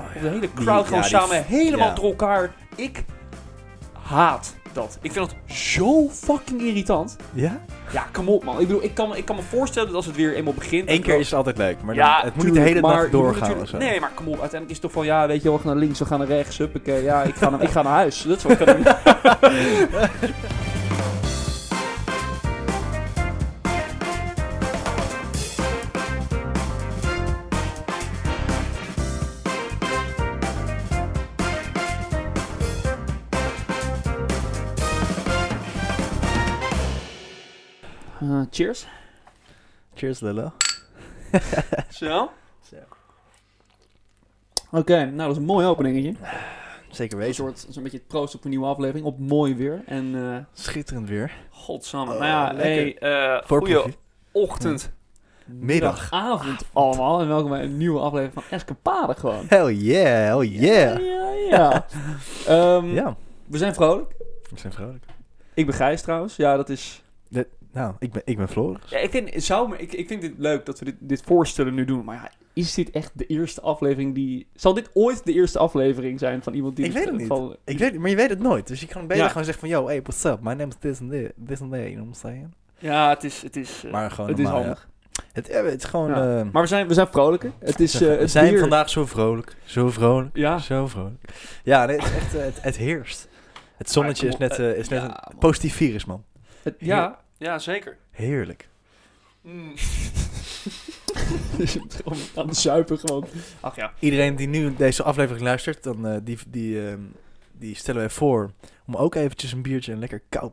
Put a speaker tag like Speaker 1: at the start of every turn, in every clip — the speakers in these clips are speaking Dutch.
Speaker 1: Of de hele crowd gewoon
Speaker 2: Die- ja, die-
Speaker 1: samen helemaal
Speaker 2: ja.
Speaker 1: door elkaar. Ik haat dat. Ik vind dat zo fucking irritant.
Speaker 2: Ja?
Speaker 1: Ja, kom op man. Ik bedoel, ik kan, ik kan me voorstellen dat als het weer eenmaal begint...
Speaker 2: Eén
Speaker 1: dat-
Speaker 2: keer is het altijd leuk, maar
Speaker 1: Ja,
Speaker 2: dan- het moet niet de
Speaker 1: tuurlijk,
Speaker 2: hele
Speaker 1: maar
Speaker 2: dag
Speaker 1: je moet
Speaker 2: doorgaan of
Speaker 1: natuurlijk-
Speaker 2: zo.
Speaker 1: Nee, maar kom op. Uiteindelijk is het toch van, ja, weet je wel, we gaan naar links, we gaan naar rechts, huppakee. Ja, ik ga naar, ik ga naar huis. Dat is wat ik kan doen. Eh, cheers.
Speaker 2: Cheers, Lillo.
Speaker 1: Zo.
Speaker 2: Zo.
Speaker 1: Oké, nou dat is een mooi openingetje.
Speaker 2: Zeker
Speaker 1: Een
Speaker 2: weten.
Speaker 1: soort, zo'n beetje het proost op een nieuwe aflevering, op mooi weer. En eh
Speaker 2: Schitterend weer.
Speaker 1: godsamme,
Speaker 2: Oh,
Speaker 1: nou ja, hey,
Speaker 2: lekker.
Speaker 1: eh goeie
Speaker 2: Voorproefje.
Speaker 1: ochtend,
Speaker 2: Middag.
Speaker 1: avond allemaal. En welkom bij een nieuwe aflevering van Escapade gewoon.
Speaker 2: Hell yeah, hell yeah.
Speaker 1: Ja, ja. Ehm,
Speaker 2: Ja,
Speaker 1: We zijn vrolijk.
Speaker 2: we zijn vrolijk.
Speaker 1: Ik ben Gijs trouwens. Ja, dat is...
Speaker 2: Nou, ik ben, ik ben Floris.
Speaker 1: Ja, ik, vind, zou, me- ik, ik vind dit leuk dat we dit, dit voorstellen nu doen. Maar ja, is dit echt de eerste aflevering die... Zal dit ooit de eerste aflevering zijn van iemand die... dus
Speaker 2: Ik weet het niet.
Speaker 1: Van,
Speaker 2: Ik weet, maar je weet het nooit, dus je kan beter
Speaker 1: Ja.
Speaker 2: gewoon zeggen van... Yo, hey, what's up? My name is this and this, this and that, you know what I'm saying?
Speaker 1: ja, het is... Het is, eh,
Speaker 2: Maar gewoon
Speaker 1: het is
Speaker 2: Oh, normaal, ja.
Speaker 1: handig.
Speaker 2: Het, ja, het is gewoon...
Speaker 1: Ja.
Speaker 2: eh,
Speaker 1: Maar we zijn, we zijn vrolijker. Het is eh,
Speaker 2: we
Speaker 1: het
Speaker 2: zijn
Speaker 1: weer.
Speaker 2: vandaag zo vrolijk, zo vrolijk,
Speaker 1: Ja.
Speaker 2: zo vrolijk. Ja, nee, het, is echt, eh, het, het heerst. Het zonnetje is
Speaker 1: Maar kom
Speaker 2: net,
Speaker 1: op,
Speaker 2: eh, is net
Speaker 1: ja,
Speaker 2: een
Speaker 1: man.
Speaker 2: positief virus, man.
Speaker 1: Het- ja, ja, zeker.
Speaker 2: Heerlijk.
Speaker 1: Mm. Om aan het zuipen gewoon. Ach ja.
Speaker 2: Iedereen die nu deze aflevering luistert, dan eh, die, die, ehm, die stellen wij voor... om ook eventjes een biertje, een lekker koud,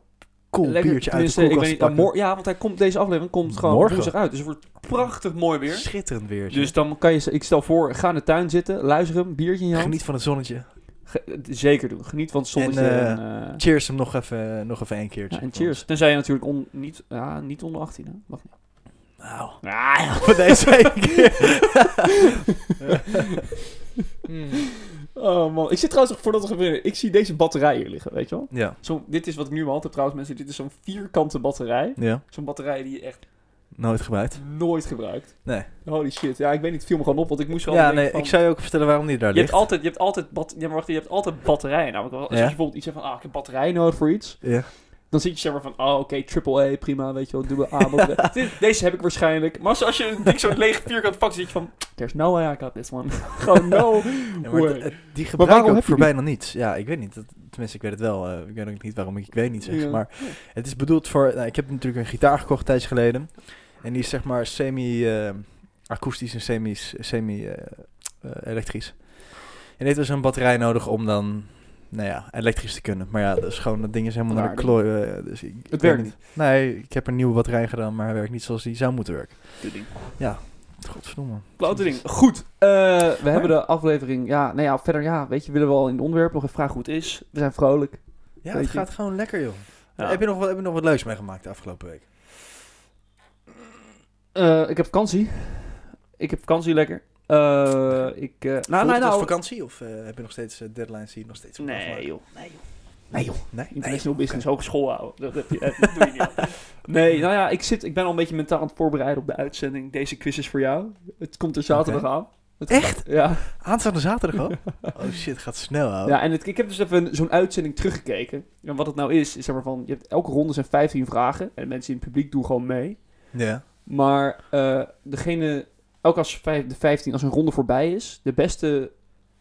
Speaker 2: koel
Speaker 1: Lekker,
Speaker 2: biertje uit de
Speaker 1: tenminste,
Speaker 2: koelkast
Speaker 1: ik
Speaker 2: te
Speaker 1: weet niet,
Speaker 2: pakken.
Speaker 1: mor- Ja, want hij komt, deze aflevering komt gewoon
Speaker 2: Morgen.
Speaker 1: woensdag uit. Dus het wordt prachtig mooi weer.
Speaker 2: Schitterend weer.
Speaker 1: Dus dan kan je, ik stel voor, ga in de tuin zitten, luister hem, biertje in je hand.
Speaker 2: Geniet van het zonnetje.
Speaker 1: Ge- zeker doen. Geniet van het zonnetje.
Speaker 2: En,
Speaker 1: En,
Speaker 2: eh,
Speaker 1: eh,
Speaker 2: Cheers hem nog even, eh, nog even een keertje.
Speaker 1: ja, en cheers. Tenzij je natuurlijk on- niet, ja, niet onder 18, hè? Mag niet.
Speaker 2: Nou,
Speaker 1: Ah, ja.
Speaker 2: voor deze ene keer.
Speaker 1: Oh man, ik zit trouwens nog voordat we gaan beginnen. Ik zie deze batterij hier liggen, weet je wel?
Speaker 2: Ja.
Speaker 1: Zo, dit is wat ik nu altijd heb trouwens, mensen. Dit is zo'n vierkante batterij.
Speaker 2: Ja,
Speaker 1: Zo'n batterij die je echt
Speaker 2: nooit gebruikt.
Speaker 1: nooit gebruikt.
Speaker 2: Nee.
Speaker 1: Holy shit. Ja, ik weet niet, het viel me gewoon op, want ik moest wel
Speaker 2: Ja,
Speaker 1: denken
Speaker 2: nee,
Speaker 1: van-
Speaker 2: ik zou je ook vertellen waarom die daar
Speaker 1: Je hebt
Speaker 2: ligt.
Speaker 1: altijd, je hebt altijd, bat, ja, maar wacht, je hebt altijd batterijen. Namelijk, als
Speaker 2: Ja.
Speaker 1: je bijvoorbeeld iets hebt van, ah, ik heb batterij nodig voor iets.
Speaker 2: Ja.
Speaker 1: Dan zit je zeg maar van, oh, oké, triple A, prima, weet je wel, dubbele A. dubbele- Dit- Deze heb ik waarschijnlijk. Maar als, als je een dik zo'n leeg vierkant pak zit je van, there's no way I got this one. Gewoon no
Speaker 2: Ja, maar
Speaker 1: way.
Speaker 2: het- het- die
Speaker 1: eh, Maar
Speaker 2: gebruik
Speaker 1: waarom
Speaker 2: ik ook
Speaker 1: heb je
Speaker 2: voor
Speaker 1: die?
Speaker 2: bijna niets. Ja, ik weet niet. Dat, tenminste, ik weet het wel. eh, ik weet ook niet waarom ik, ik weet niet zeg.
Speaker 1: Ja.
Speaker 2: Maar het is bedoeld voor... Nou, ik heb natuurlijk een gitaar gekocht een tijdje geleden. En die is zeg maar semi... eh, akoestisch en semi... semi eh, eh, elektrisch. En dit was een batterij nodig om dan... Nou ja, elektrisch te kunnen. Maar ja, dat is gewoon... Dat ding is helemaal naar de
Speaker 1: Raar
Speaker 2: klooi. eh, dus ik, ik weet
Speaker 1: werkt
Speaker 2: Nee, ik heb er een nieuwe batterij gedaan, maar hij werkt niet zoals die zou moeten werken.
Speaker 1: Dit ding.
Speaker 2: Godverdomme.
Speaker 1: Klote ding. Goed. eh, we hebben de aflevering, ja, nee, ja, verder, ja, weet je, willen we al in het onderwerp nog even vragen hoe het is. We zijn vrolijk.
Speaker 2: Ja,
Speaker 1: Weet
Speaker 2: het
Speaker 1: je.
Speaker 2: gaat gewoon lekker, joh.
Speaker 1: Ja.
Speaker 2: Heb, je nog, wat- heb je nog wat leuks meegemaakt de afgelopen week?
Speaker 1: Eh, ik heb vakantie. Ik heb vakantie lekker. Eh, ik, eh, nou,
Speaker 2: Voelt
Speaker 1: nee,
Speaker 2: het als
Speaker 1: nou,
Speaker 2: vakantie of eh, heb je nog steeds eh, deadlines die je nog steeds moet
Speaker 1: Nee,
Speaker 2: afmaken?
Speaker 1: joh. Nee, joh.
Speaker 2: Nee, joh. Nee, nee,
Speaker 1: International business, hogeschool houden. Dat, heb je, eh, dat doe je niet. aan. Nee, nou ja, ik, zit, ik ben al een beetje mentaal aan het voorbereiden op de uitzending. Deze quiz is voor jou. Het komt er zaterdag aan. Het
Speaker 2: Echt?
Speaker 1: Ja,
Speaker 2: Aanstaande zaterdag al? oh shit, gaat snel, ouwe.
Speaker 1: ja en het, ik heb dus even zo'n uitzending teruggekeken. En wat het nou is, is zeg maar van, je hebt, elke ronde zijn 15 vragen. En mensen in het publiek doen gewoon mee.
Speaker 2: Ja.
Speaker 1: Maar eh, degene, ook als vijf- de 15, als een ronde voorbij is, de beste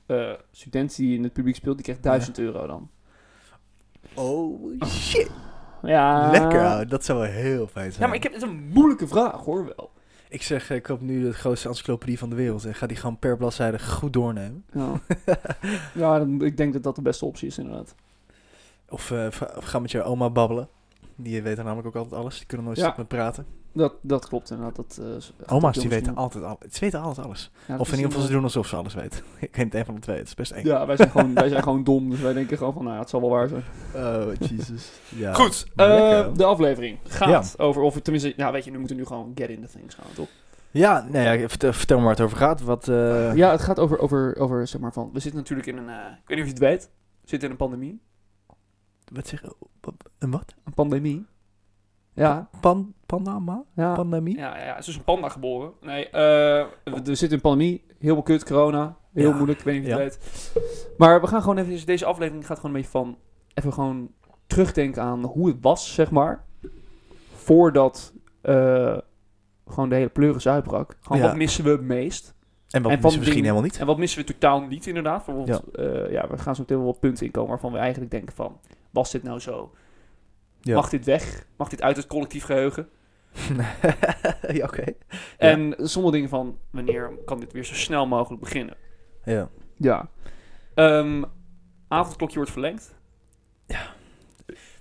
Speaker 1: eh, student die in het publiek speelt, die krijgt 1000 euro dan.
Speaker 2: Oh shit.
Speaker 1: Ja.
Speaker 2: Lekker, ouwe. Dat zou wel heel fijn zijn.
Speaker 1: Eh. Ja, maar ik heb, het is een moeilijke vraag hoor wel.
Speaker 2: Ik zeg, eh, ik koop nu de grootste encyclopedie van de wereld en ga die gewoon per bladzijde goed doornemen.
Speaker 1: Ja, ja dan- ik denk dat dat de beste optie is inderdaad.
Speaker 2: Of, eh, va- of ga met je oma babbelen. Die weet er namelijk ook altijd alles. Die kunnen nooit
Speaker 1: Ja.
Speaker 2: stuk met praten.
Speaker 1: Dat, dat klopt inderdaad. Dat, eh, gaat ook
Speaker 2: Oma's
Speaker 1: heel
Speaker 2: die weten
Speaker 1: snel.
Speaker 2: altijd alles. Ze weten altijd alles.
Speaker 1: Ja, dat
Speaker 2: Of in
Speaker 1: is
Speaker 2: ieder geval
Speaker 1: inderdaad-
Speaker 2: ze doen alsof ze alles weten. Ik weet het een van de twee. Het is best eng.
Speaker 1: Ja, wij zijn, gewoon, wij zijn gewoon dom, dus wij denken gewoon van, nou ja, het zal wel waar zijn.
Speaker 2: Oh, Jesus. Ja.
Speaker 1: Goed,
Speaker 2: Maar lekker,
Speaker 1: eh,
Speaker 2: hoor.
Speaker 1: de aflevering gaat over, of tenminste, nou weet je, nu moeten we nu gewoon get in the things gaan, toch?
Speaker 2: Ja, nee, ja, vertel, vertel me waar het over gaat. Wat, eh,
Speaker 1: Ja, het gaat over, over, over, zeg maar van, we zitten natuurlijk in een, eh, ik weet niet of je het weet, we zitten in een pandemie.
Speaker 2: wat zeg je? Wat- Een wat?
Speaker 1: Een pandemie? Ja,
Speaker 2: Pan, Panama?
Speaker 1: ja.
Speaker 2: Pandemie?
Speaker 1: Ja, ja, ja, het is een panda geboren. Nee, eh, we, we zitten in pandemie. Heel veel kut, corona. Heel
Speaker 2: Ja.
Speaker 1: moeilijk, ik weet niet of je
Speaker 2: Ja.
Speaker 1: het weet. Maar we gaan gewoon even, dus deze aflevering gaat gewoon een beetje van, even gewoon terugdenken aan hoe het was, zeg maar. Voordat eh, gewoon de hele pleuris uitbrak. Gewoon
Speaker 2: Ja.
Speaker 1: wat missen we het meest?
Speaker 2: En
Speaker 1: En van
Speaker 2: wat missen we misschien
Speaker 1: dingen-
Speaker 2: helemaal niet.
Speaker 1: En wat missen we totaal niet, inderdaad. Bijvoorbeeld, ja. ja, we gaan zo meteen wel wat punten inkomen waarvan we eigenlijk denken van, was dit nou zo?
Speaker 2: Ja.
Speaker 1: Mag dit weg? Mag dit uit het collectief geheugen?
Speaker 2: ja, oké.
Speaker 1: En sommige dingen van, wanneer kan dit weer zo snel mogelijk beginnen?
Speaker 2: Ja.
Speaker 1: Ja. Ehm, avondklokje wordt verlengd.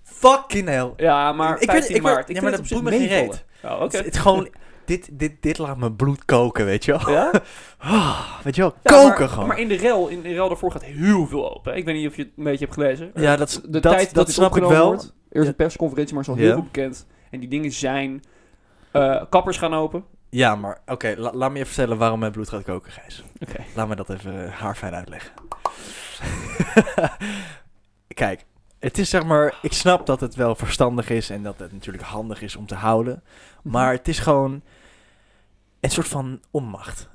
Speaker 2: Fucking hell.
Speaker 1: Ja, maar
Speaker 2: Ik weet-
Speaker 1: 15
Speaker 2: ik weet-
Speaker 1: maart. Ik
Speaker 2: ja,
Speaker 1: vind
Speaker 2: maar
Speaker 1: het
Speaker 2: dat
Speaker 1: op
Speaker 2: doet
Speaker 1: zich
Speaker 2: me geen
Speaker 1: meevallen. Oh,
Speaker 2: Het,
Speaker 1: oké.
Speaker 2: het gewoon... Dit, dit, dit laat mijn bloed koken, weet je wel.
Speaker 1: Ja?
Speaker 2: Weet je wel,
Speaker 1: Ja,
Speaker 2: koken
Speaker 1: maar,
Speaker 2: gewoon.
Speaker 1: Maar in de rel, in de rel daarvoor gaat heel veel open. Ik weet niet of je het een beetje hebt gelezen. Eh,
Speaker 2: ja, dat,
Speaker 1: De
Speaker 2: dat,
Speaker 1: tijd dat,
Speaker 2: dat
Speaker 1: dit
Speaker 2: snap ik
Speaker 1: opgenomen
Speaker 2: wel.
Speaker 1: Wordt. Er is
Speaker 2: Ja.
Speaker 1: een persconferentie, maar is al
Speaker 2: Ja.
Speaker 1: heel veel bekend. En die dingen zijn... eh, kappers gaan open.
Speaker 2: Ja, maar oké, la- laat me je vertellen waarom mijn bloed gaat koken, Gijs.
Speaker 1: Oké.
Speaker 2: Laat me dat even eh, haarfijn uitleggen. Kijk, het is zeg maar, ik snap dat het wel verstandig is en dat het natuurlijk handig is om te houden. Maar het is gewoon een soort van onmacht.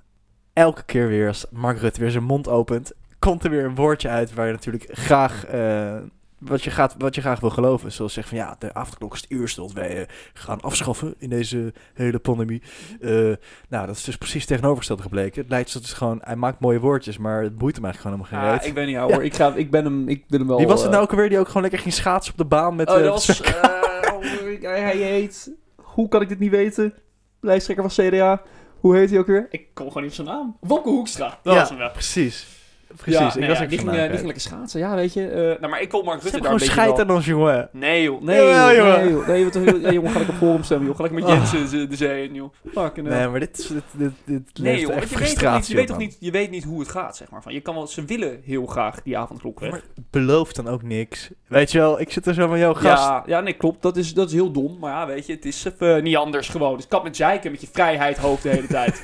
Speaker 2: Elke keer weer als Mark Rutte weer zijn mond opent, komt er weer een woordje uit waar je natuurlijk graag... eh, wat je, gaat, wat je graag wil geloven. Zoals zeggen van ja, de avondklok is het uurste dat wij eh, gaan afschaffen in deze hele pandemie.
Speaker 1: Mhm.
Speaker 2: Eh, nou, dat is dus precies tegenovergesteld gebleken. Het leidt dus gewoon, hij maakt mooie woordjes, maar het boeit hem eigenlijk gewoon helemaal geen
Speaker 1: Ah,
Speaker 2: reet.
Speaker 1: ik weet niet, hoor. Ik, ga, ik ben hem... Ik wil hem wel...
Speaker 2: Wie was het
Speaker 1: eh,
Speaker 2: nou ook alweer die ook gewoon lekker ging schaatsen op de baan met...
Speaker 1: oh,
Speaker 2: eh,
Speaker 1: dat was... eh, oh, ik- hij hij heet... Hoe kan ik dit niet weten? Lijsttrekker van CDA. Hoe heet hij ook weer? Ik kom gewoon niet op zijn naam. Wopke Hoekstra. Dat
Speaker 2: Ja,
Speaker 1: was hem wel.
Speaker 2: Precies. Precies,
Speaker 1: Ja,
Speaker 2: ik
Speaker 1: nee,
Speaker 2: was
Speaker 1: ja,
Speaker 2: er
Speaker 1: die ging,
Speaker 2: vandaag
Speaker 1: eh,
Speaker 2: uit.
Speaker 1: die ging lekker schaatsen, ja, weet je. Eh, nou, maar ik kon Mark Rutte
Speaker 2: Ze
Speaker 1: daar
Speaker 2: hebben
Speaker 1: een
Speaker 2: gewoon
Speaker 1: beetje
Speaker 2: scheid
Speaker 1: wel-
Speaker 2: aan ons, jongen.
Speaker 1: Nee, joh. Nee, joh.
Speaker 2: Jawel, jongen.
Speaker 1: Nee, joh. Nee, wat, ja, jongen, ga ik op forum stemmen, joh. Ah. Ga ik met
Speaker 2: Oh.
Speaker 1: Jensen ze- de zee in, joh. Fucking hell.
Speaker 2: Nee, maar dit, is- dit, dit, dit
Speaker 1: Nee,
Speaker 2: levert
Speaker 1: joh,
Speaker 2: echt
Speaker 1: want je weet, toch niet,
Speaker 2: frustratie
Speaker 1: je, weet toch
Speaker 2: op, man.
Speaker 1: niet, je weet niet hoe het gaat, zeg maar. Van, je kan wel, ze willen heel graag die avondklok weg.
Speaker 2: Maar beloof dan ook niks. Weet je wel, ik zit er zo van, jou gast.
Speaker 1: ja, ja, nee, klopt. Dat is, dat is heel dom. Maar ja, weet je, het is even eh, niet anders gewoon. Dus kap met zeiken met je vrijheid hoofd de hele tijd.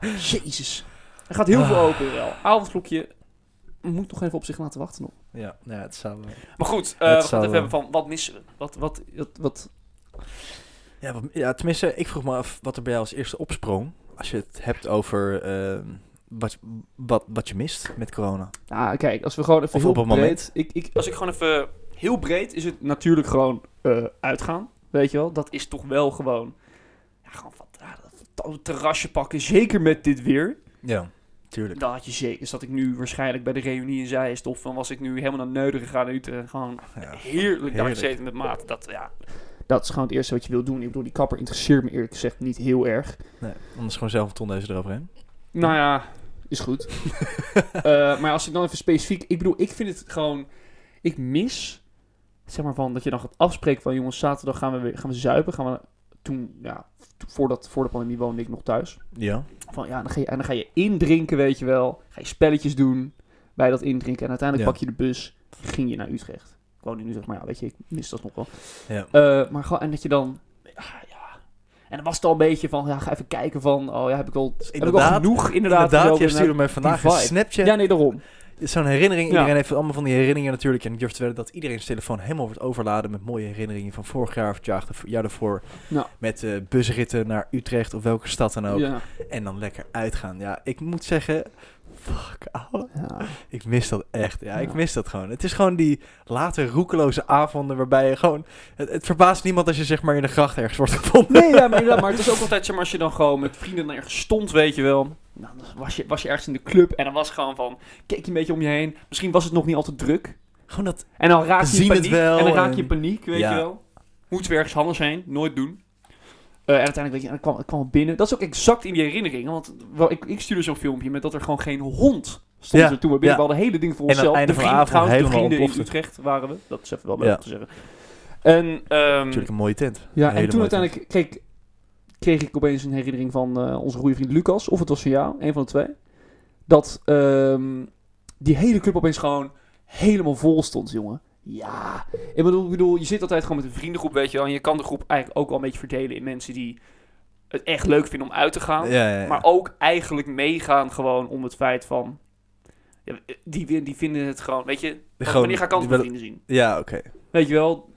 Speaker 1: Jezus. Er gaat heel veel
Speaker 2: Ah.
Speaker 1: open wel. Avondklokje moet nog even op zich laten wachten nog.
Speaker 2: Ja, nou ja het zou wel-
Speaker 1: Maar goed, eh,
Speaker 2: Dat
Speaker 1: we gaan het
Speaker 2: zou,
Speaker 1: even
Speaker 2: eh,
Speaker 1: hebben van wat missen we? Wat, wat, wat, wat
Speaker 2: Ja, wat- ja, tenminste, ik vroeg me af wat er bij jou als eerste opsprong. Als je het hebt over ehm, wat, wat, wat je mist met corona.
Speaker 1: Nou, kijk, als we gewoon even
Speaker 2: Of
Speaker 1: heel
Speaker 2: op een
Speaker 1: breed...
Speaker 2: moment.
Speaker 1: Ik, ik, als ik gewoon even... Heel breed is het natuurlijk gewoon eh, uitgaan. Weet je wel? Dat is toch wel gewoon... Ja, gewoon van, ja, dat- dat terrasje pakken. Zeker met dit weer.
Speaker 2: Ja, tuurlijk.
Speaker 1: Dat had je zeker. Zat ik nu waarschijnlijk bij de reunie in Zeist. Of dan was ik nu helemaal naar Neuren gegaan in Utrecht. Gewoon
Speaker 2: Ja.
Speaker 1: heerlijk daar
Speaker 2: Heerlijk.
Speaker 1: gezeten met maat. Dat, ja, dat is gewoon het eerste wat je wil doen. Ik bedoel, die kapper interesseert me eerlijk gezegd niet heel erg.
Speaker 2: Nee, anders gewoon zelf een tondeuze eroverheen.
Speaker 1: Nou ja, is goed. Eh, maar als ik dan even specifiek... Ik bedoel, ik vind het gewoon... Ik mis... Zeg maar van dat je dan gaat afspreken van... Jongens, zaterdag gaan we, weer- gaan we zuipen. Gaan we toen... Ja, to- voordat, voor de pandemie woonde ik nog thuis.
Speaker 2: Ja.
Speaker 1: Van ja, dan ga je, en dan ga je indrinken, weet je wel. Ga je spelletjes doen bij dat indrinken. En uiteindelijk
Speaker 2: Ja.
Speaker 1: pak je de bus. Ging je naar Utrecht. Ik woon in Utrecht, maar ja, weet je, ik mis dat nog wel.
Speaker 2: Ja.
Speaker 1: Eh, maar gewoon... En dat je dan... ah, ja. En dan was het al een beetje van... Ja, ga even kijken van... Oh ja, heb ik wel, heb ik wel
Speaker 2: inderdaad-
Speaker 1: genoeg inderdaad.
Speaker 2: Inderdaad,
Speaker 1: gelopen
Speaker 2: jij
Speaker 1: en-
Speaker 2: stuurde mij vandaag een
Speaker 1: vibe.
Speaker 2: Snapchat.
Speaker 1: ja, nee, daarom.
Speaker 2: Zo'n herinnering.
Speaker 1: Ja.
Speaker 2: Iedereen heeft allemaal van die herinneringen natuurlijk. En ik durf te wedden dat iedereen zijn telefoon helemaal wordt overladen met mooie herinneringen van vorig jaar of het jaar, daarvoor- jaar daarvoor.
Speaker 1: Ja.
Speaker 2: Met eh, busritten naar Utrecht of welke stad dan ook.
Speaker 1: Ja.
Speaker 2: En dan lekker uitgaan. Ja, ik moet zeggen, fuck ouwe. Ik mis dat echt. Ja, ik
Speaker 1: Ja.
Speaker 2: mis dat gewoon. Het is gewoon die late roekeloze avonden waarbij je gewoon... Het, het verbaast niemand als je zeg maar in de gracht ergens wordt gevonden.
Speaker 1: Nee, ja, maar, inderdaad, maar het is ook altijd, zeg maar, als je dan gewoon met vrienden ergens stond, weet je wel. Dan was je, was je ergens in de club en dan was gewoon van, keek je een beetje om je heen. Misschien was het nog niet al te druk.
Speaker 2: Gewoon dat...
Speaker 1: En dan raak je
Speaker 2: Zien
Speaker 1: in
Speaker 2: het
Speaker 1: paniek.
Speaker 2: wel
Speaker 1: en dan raak je
Speaker 2: en-
Speaker 1: in paniek, weet
Speaker 2: Ja.
Speaker 1: je wel. Moet weer ergens anders heen, nooit doen. Eh, en uiteindelijk weet je, en dan kwam, kwam het binnen. Dat is ook exact in die herinnering. Want wel, ik, ik stuurde zo'n filmpje met dat er gewoon geen hond stond
Speaker 2: Ja,
Speaker 1: er toen we binnen.
Speaker 2: ja.
Speaker 1: We hadden hele ding voor
Speaker 2: En aan het
Speaker 1: onszelf.
Speaker 2: einde
Speaker 1: de
Speaker 2: van de
Speaker 1: vrienden,
Speaker 2: avond
Speaker 1: trouwens, de
Speaker 2: helemaal
Speaker 1: vrienden in
Speaker 2: ontploft.
Speaker 1: Utrecht waren we. Dat is even wel leuk
Speaker 2: Ja.
Speaker 1: om te zeggen. En, ehm,
Speaker 2: Natuurlijk een mooie tent.
Speaker 1: ja,
Speaker 2: Hele
Speaker 1: en toen
Speaker 2: mooie tent.
Speaker 1: uiteindelijk kreeg, kreeg ik opeens een herinnering van eh, onze goede vriend Lucas, of het was van jou, een van de twee. Dat ehm, die hele club opeens gewoon helemaal vol stond, jongen. Ja, ik bedoel, ik bedoel, je zit altijd gewoon met een vriendengroep, weet je wel. En je kan de groep eigenlijk ook wel een beetje verdelen in mensen die het echt leuk vinden om uit te gaan.
Speaker 2: Ja, ja, ja.
Speaker 1: Maar ook eigenlijk meegaan gewoon om het feit van... ja, die, die vinden het gewoon, weet je,
Speaker 2: Gewoon-
Speaker 1: wanneer ga ik andere
Speaker 2: die
Speaker 1: vrienden zien?
Speaker 2: ja oké.
Speaker 1: Weet je wel,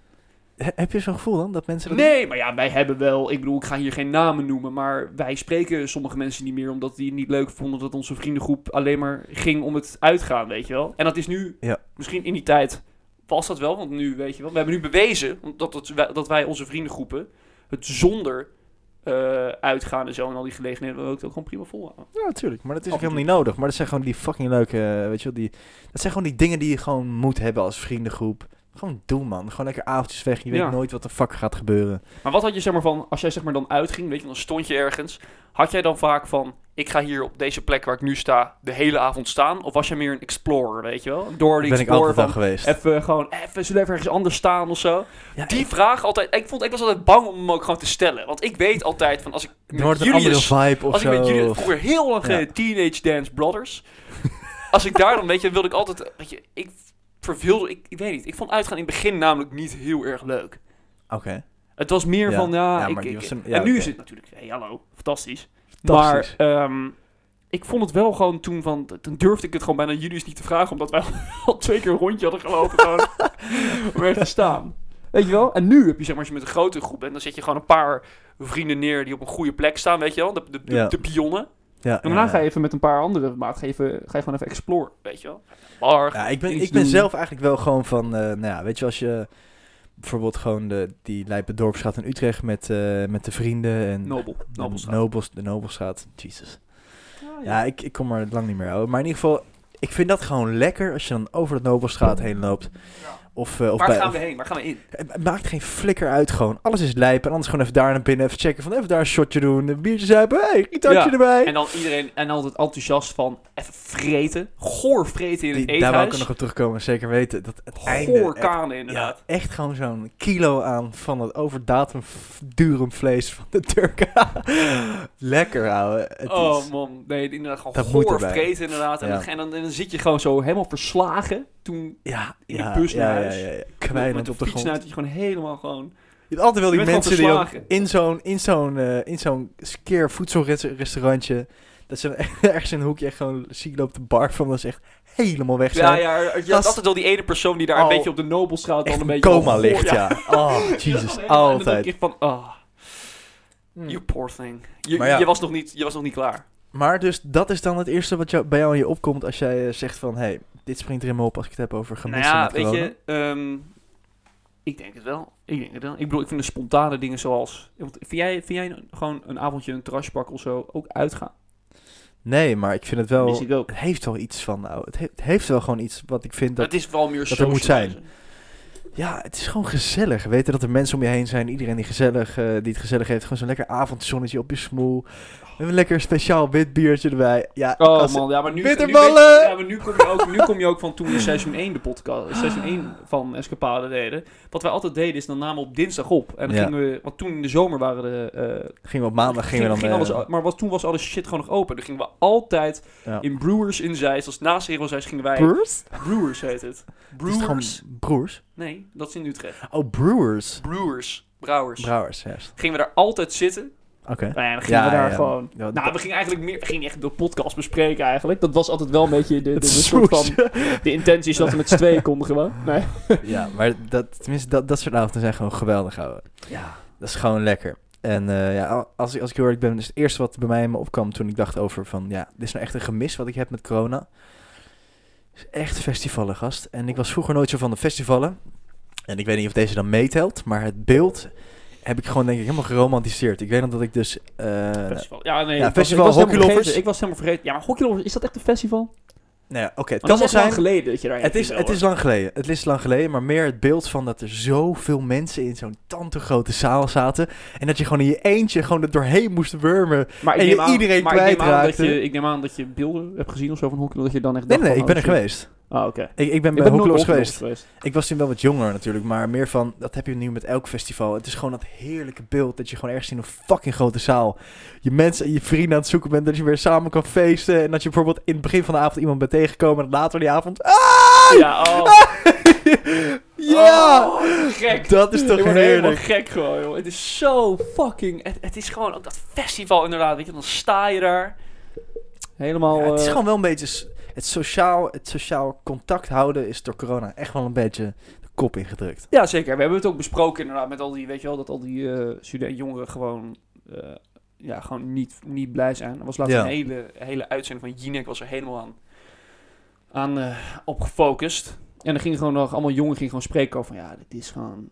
Speaker 2: He- heb je zo'n gevoel dan, dat mensen dat
Speaker 1: Nee, maar ja, wij hebben wel... Ik bedoel, ik ga hier geen namen noemen, maar wij spreken sommige mensen niet meer... omdat die het niet leuk vonden dat onze vriendengroep alleen maar ging om het uitgaan, weet je wel. En dat is nu,
Speaker 2: Ja.
Speaker 1: misschien in die tijd was dat wel, want nu, weet je wel... We hebben nu bewezen dat, dat, wij- dat wij onze vriendengroepen het zonder eh, uitgaan en zo... en al die gelegenheden ook, ook gewoon prima volhouden.
Speaker 2: Ja, natuurlijk. Maar dat is
Speaker 1: Af
Speaker 2: ook
Speaker 1: en
Speaker 2: helemaal niet nodig. Maar dat zijn gewoon die fucking leuke, eh, weet je wel, die... Dat zijn gewoon die dingen die je gewoon moet hebben als vriendengroep. Gewoon doen, man. Gewoon lekker avondjes weg. Je weet
Speaker 1: Ja.
Speaker 2: nooit wat de fuck gaat gebeuren.
Speaker 1: Maar wat had je zeg maar van, als jij zeg maar dan uitging, weet je, dan stond je ergens. Had jij dan vaak van, ik ga hier op deze plek waar ik nu sta de hele avond staan? Of was jij meer een explorer, weet je wel? Door die
Speaker 2: ben ik
Speaker 1: explorer
Speaker 2: altijd al
Speaker 1: van,
Speaker 2: geweest.
Speaker 1: even gewoon, even, zullen we even ergens anders staan of zo?
Speaker 2: Ja,
Speaker 1: Die vraag altijd, ik, vond, ik was altijd bang om hem ook gewoon te stellen. Want ik weet altijd van, als ik
Speaker 2: er wordt
Speaker 1: met
Speaker 2: een andere
Speaker 1: Julius...
Speaker 2: vibe
Speaker 1: dus-
Speaker 2: of
Speaker 1: Als ik
Speaker 2: zo.
Speaker 1: met Julius,
Speaker 2: of-
Speaker 1: vroeger heel lang
Speaker 2: Ja.
Speaker 1: geleden, Teenage Dance Brothers. als ik daar dan, weet je, wilde ik altijd, weet je, ik verveelde, ik, ik weet niet. Ik vond uitgaan in het begin namelijk niet heel erg leuk.
Speaker 2: Oké.
Speaker 1: Het was meer
Speaker 2: Ja,
Speaker 1: van, ja,
Speaker 2: ja,
Speaker 1: ik,
Speaker 2: maar die
Speaker 1: ik-
Speaker 2: was een-
Speaker 1: en
Speaker 2: ja,
Speaker 1: nu
Speaker 2: oké.
Speaker 1: is het natuurlijk, hey, hallo, fantastisch.
Speaker 2: Fantastisch.
Speaker 1: Maar ehm, ik vond het wel gewoon toen van, toen durfde ik het gewoon bijna Julius niet te vragen, omdat wij al twee keer een rondje hadden gelopen gewoon, om er te staan. Weet je wel? En nu heb je, zeg maar, als je met een grote groep bent, dan zet je gewoon een paar vrienden neer die op een goede plek staan, weet je wel, de, de, de,
Speaker 2: Ja.
Speaker 1: de pionnen.
Speaker 2: Ja,
Speaker 1: En daarna ga je even met een paar andere maat, ga je, even, ga je gewoon even exploren, weet je wel. Bar,
Speaker 2: Ja, ik ben,
Speaker 1: iets
Speaker 2: ik ben
Speaker 1: doen.
Speaker 2: zelf eigenlijk wel gewoon van, eh, nou ja, weet je, als je bijvoorbeeld gewoon de, die Lijpe Dorpsstraat in Utrecht met, eh, met de vrienden en
Speaker 1: Nobel,
Speaker 2: de
Speaker 1: Nobelstraat.
Speaker 2: Nobels, de Nobelstraat, Jesus.
Speaker 1: Ah, ja.
Speaker 2: Ja, ik, ik kom er lang niet meer over. Maar in ieder geval, ik vind dat gewoon lekker als je dan over de Nobelstraat heen loopt. Of, eh, of
Speaker 1: Waar
Speaker 2: bij,
Speaker 1: gaan we heen? Waar gaan we in?
Speaker 2: Het maakt geen flikker uit gewoon. Alles is lijp en anders gewoon even daar naar binnen, even checken van even daar een shotje doen, een biertje zuipen, hey, gitaartje
Speaker 1: Ja,
Speaker 2: erbij.
Speaker 1: En dan iedereen en altijd enthousiast van even vreten. Goor vreten in het
Speaker 2: Die, daar wil ik ook
Speaker 1: eethuis.
Speaker 2: nog op terugkomen, zeker weten. Dat het einde
Speaker 1: Goor
Speaker 2: echt
Speaker 1: kanen
Speaker 2: Ja,
Speaker 1: inderdaad.
Speaker 2: echt gewoon zo'n kilo aan van het overdatum f- durum vlees van de Turken. Lekker, ouwe. Het
Speaker 1: oh
Speaker 2: is-
Speaker 1: man, nee, inderdaad gewoon
Speaker 2: Dat moet
Speaker 1: goor
Speaker 2: erbij.
Speaker 1: vreten inderdaad. En,
Speaker 2: Ja.
Speaker 1: dan, en, dan, en dan zit je gewoon zo helemaal verslagen. Toen
Speaker 2: ja,
Speaker 1: in de
Speaker 2: ja,
Speaker 1: bus naar
Speaker 2: ja,
Speaker 1: huis.
Speaker 2: Ja, ja, ja.
Speaker 1: met,
Speaker 2: Kwijnend
Speaker 1: met de
Speaker 2: op de
Speaker 1: fiets
Speaker 2: grond.
Speaker 1: uit, dat je gewoon helemaal gewoon...
Speaker 2: Je hebt altijd wel
Speaker 1: Je
Speaker 2: die
Speaker 1: bent
Speaker 2: mensen
Speaker 1: gewoon
Speaker 2: die dan
Speaker 1: verslagen.
Speaker 2: in zo'n in zo'n eh, in zo'n skeer voedselrestaurantje... Dat ze dan ergens in een hoekje echt gewoon ziek loopt de bar van. Dat ze echt helemaal weg
Speaker 1: Ja,
Speaker 2: zijn.
Speaker 1: ja, je had
Speaker 2: Gast-
Speaker 1: altijd wel die ene persoon die daar
Speaker 2: Al-
Speaker 1: een beetje op de Nobelstraat dan
Speaker 2: Echt
Speaker 1: een
Speaker 2: een
Speaker 1: beetje...
Speaker 2: coma
Speaker 1: al-
Speaker 2: ligt,
Speaker 1: Ja.
Speaker 2: ja. Oh,
Speaker 1: Je was
Speaker 2: Jesus.
Speaker 1: gewoon helemaal- en dan denk
Speaker 2: Altijd.
Speaker 1: ik van, ah,
Speaker 2: Mm.
Speaker 1: you poor thing. Je,
Speaker 2: Maar ja.
Speaker 1: je, was nog niet, je was nog niet klaar.
Speaker 2: Maar dus dat is dan het eerste wat jou, bij jou in je opkomt als jij eh, zegt van... hey, dit springt er in me op als ik het heb over
Speaker 1: Nou
Speaker 2: gemissen
Speaker 1: ja,
Speaker 2: met
Speaker 1: weet
Speaker 2: corona.
Speaker 1: je, ehm, ik denk het wel. Ik denk het wel. Ik bedoel, ik vind de spontane dingen zoals... want Vind jij, vind jij een- gewoon een avondje een terrasje pakken of zo ook uitgaan?
Speaker 2: Nee, maar ik vind het wel...
Speaker 1: Mis ik ook.
Speaker 2: Het heeft wel iets van... nou, het, he- het heeft wel gewoon iets wat ik vind
Speaker 1: Dat,
Speaker 2: dat...
Speaker 1: is wel meer
Speaker 2: dat er moet zijn.
Speaker 1: socializen.
Speaker 2: Ja, het is gewoon gezellig. Weten dat er mensen om je heen zijn. Iedereen die, gezellig, eh, die het gezellig heeft. Gewoon zo'n lekker avondzonnetje op je smoel. Een lekker speciaal wit biertje erbij. Ja,
Speaker 1: Oh
Speaker 2: als-
Speaker 1: man, ja, maar nu...
Speaker 2: Bitterballen!
Speaker 1: Nu, weet je- ja, maar nu, kom je ook, nu kom je ook van toen we seizoen 1 de podcast... Seizoen 1 van Escapade deden. Wat wij altijd deden is, dan namen we op dinsdag op. En dan
Speaker 2: Ja.
Speaker 1: gingen we... Want toen in de zomer waren de... eh,
Speaker 2: Gingen we op maandag gingen we dan...
Speaker 1: ging
Speaker 2: eh,
Speaker 1: alles, maar was, toen was alles shit gewoon nog open. Dan gingen we altijd
Speaker 2: Ja.
Speaker 1: in Brewers in Zeist. Als naast Heerlen Zeist gingen wij...
Speaker 2: Brewers?
Speaker 1: Brewers heet het.
Speaker 2: Is het gewoon
Speaker 1: Brewers?
Speaker 2: broers?
Speaker 1: Nee, dat is in Utrecht.
Speaker 2: Oh, brewers.
Speaker 1: Brewers. Brouwers.
Speaker 2: Brouwers, juist.
Speaker 1: gingen we daar altijd zitten.
Speaker 2: Oké.
Speaker 1: Nou ja, dan gingen
Speaker 2: Ja,
Speaker 1: we daar
Speaker 2: ja.
Speaker 1: gewoon...
Speaker 2: Ja,
Speaker 1: nou, we gingen eigenlijk meer... We gingen echt de podcast bespreken eigenlijk. Dat was altijd wel een beetje de, de, de
Speaker 2: Het
Speaker 1: soort van...
Speaker 2: smoesje.
Speaker 1: De intentie is dat we met z'n tweeën konden gewoon. Nee.
Speaker 2: Ja, maar dat, tenminste, dat, dat soort avonden zijn gewoon geweldig, ouwe.
Speaker 1: Ja.
Speaker 2: Dat is gewoon lekker. En eh, ja, als, ik- als ik heel eerlijk ben, is het eerste wat bij mij in me opkwam toen ik dacht over van, ja, dit is nou echt een gemis wat ik heb met corona. Is echt festivalen, gast. En ik was vroeger nooit zo van de festivalen. En ik weet niet of deze dan meetelt, maar het beeld heb ik gewoon denk ik helemaal geromantiseerd. Ik weet nog dat ik dus... eh,
Speaker 1: Festival. Ja, nee.
Speaker 2: Ja,
Speaker 1: ik was-
Speaker 2: festival
Speaker 1: ik was helemaal
Speaker 2: hockeylovers.
Speaker 1: vergeten. Ik was helemaal vergeten. Ja, maar hockeylovers, is dat echt een festival? Want
Speaker 2: nou ja, oké, het
Speaker 1: dat
Speaker 2: kan
Speaker 1: is
Speaker 2: wel
Speaker 1: echt lang
Speaker 2: zijn.
Speaker 1: geleden dat je daar
Speaker 2: Het is, het is lang geleden. Het is lang geleden, maar meer het beeld van dat er zoveel mensen in zo'n tante grote zaal zaten. En dat je gewoon in je eentje gewoon er doorheen moest wurmen.
Speaker 1: maar ik
Speaker 2: en je
Speaker 1: neem aan-
Speaker 2: iedereen
Speaker 1: maar ik neem aan dat
Speaker 2: kwijtraakte.
Speaker 1: je, ik neem aan dat je beelden hebt gezien of zo van hockey, dat je dan echt
Speaker 2: Nee,
Speaker 1: dacht
Speaker 2: nee, nee,
Speaker 1: van,
Speaker 2: ik ben
Speaker 1: oh,
Speaker 2: er
Speaker 1: shit.
Speaker 2: geweest.
Speaker 1: Ah, oké.
Speaker 2: Ik, ik ben
Speaker 1: Ik
Speaker 2: bij
Speaker 1: ben nooit
Speaker 2: Hoekloos
Speaker 1: bij hockeylovers
Speaker 2: geweest. Ik was toen wel wat jonger natuurlijk, maar meer van, dat heb je nu met elk festival. Het is gewoon dat heerlijke beeld dat je gewoon ergens in een fucking grote zaal je mensen en je vrienden aan het zoeken bent, dat je weer samen kan feesten. En dat je bijvoorbeeld in het begin van de avond iemand bent tegengekomen en later die avond... Ah!
Speaker 1: Ja, oh.
Speaker 2: Ja!
Speaker 1: Oh, gek.
Speaker 2: Dat is toch
Speaker 1: ik word helemaal
Speaker 2: heerlijk.
Speaker 1: gek gewoon, joh. Het is zo fucking... Het, het is gewoon ook dat festival inderdaad, weet je. Dan sta je daar. Helemaal...
Speaker 2: Ja, het is
Speaker 1: eh,
Speaker 2: gewoon wel een beetje... s- Het sociaal, het sociaal contact houden is door corona echt wel een beetje... kop ingedrukt.
Speaker 1: Ja, zeker. We hebben het ook besproken inderdaad met al die, weet je wel, dat al die eh studenten jongeren gewoon, eh, ja, gewoon niet, niet blij zijn. Er was laatst
Speaker 2: Ja.
Speaker 1: een hele, hele uitzending van Jinek, was er helemaal aan, aan eh, op gefocust. En er gingen gewoon nog allemaal jongeren gingen gewoon spreken over, van, ja, dit is gewoon,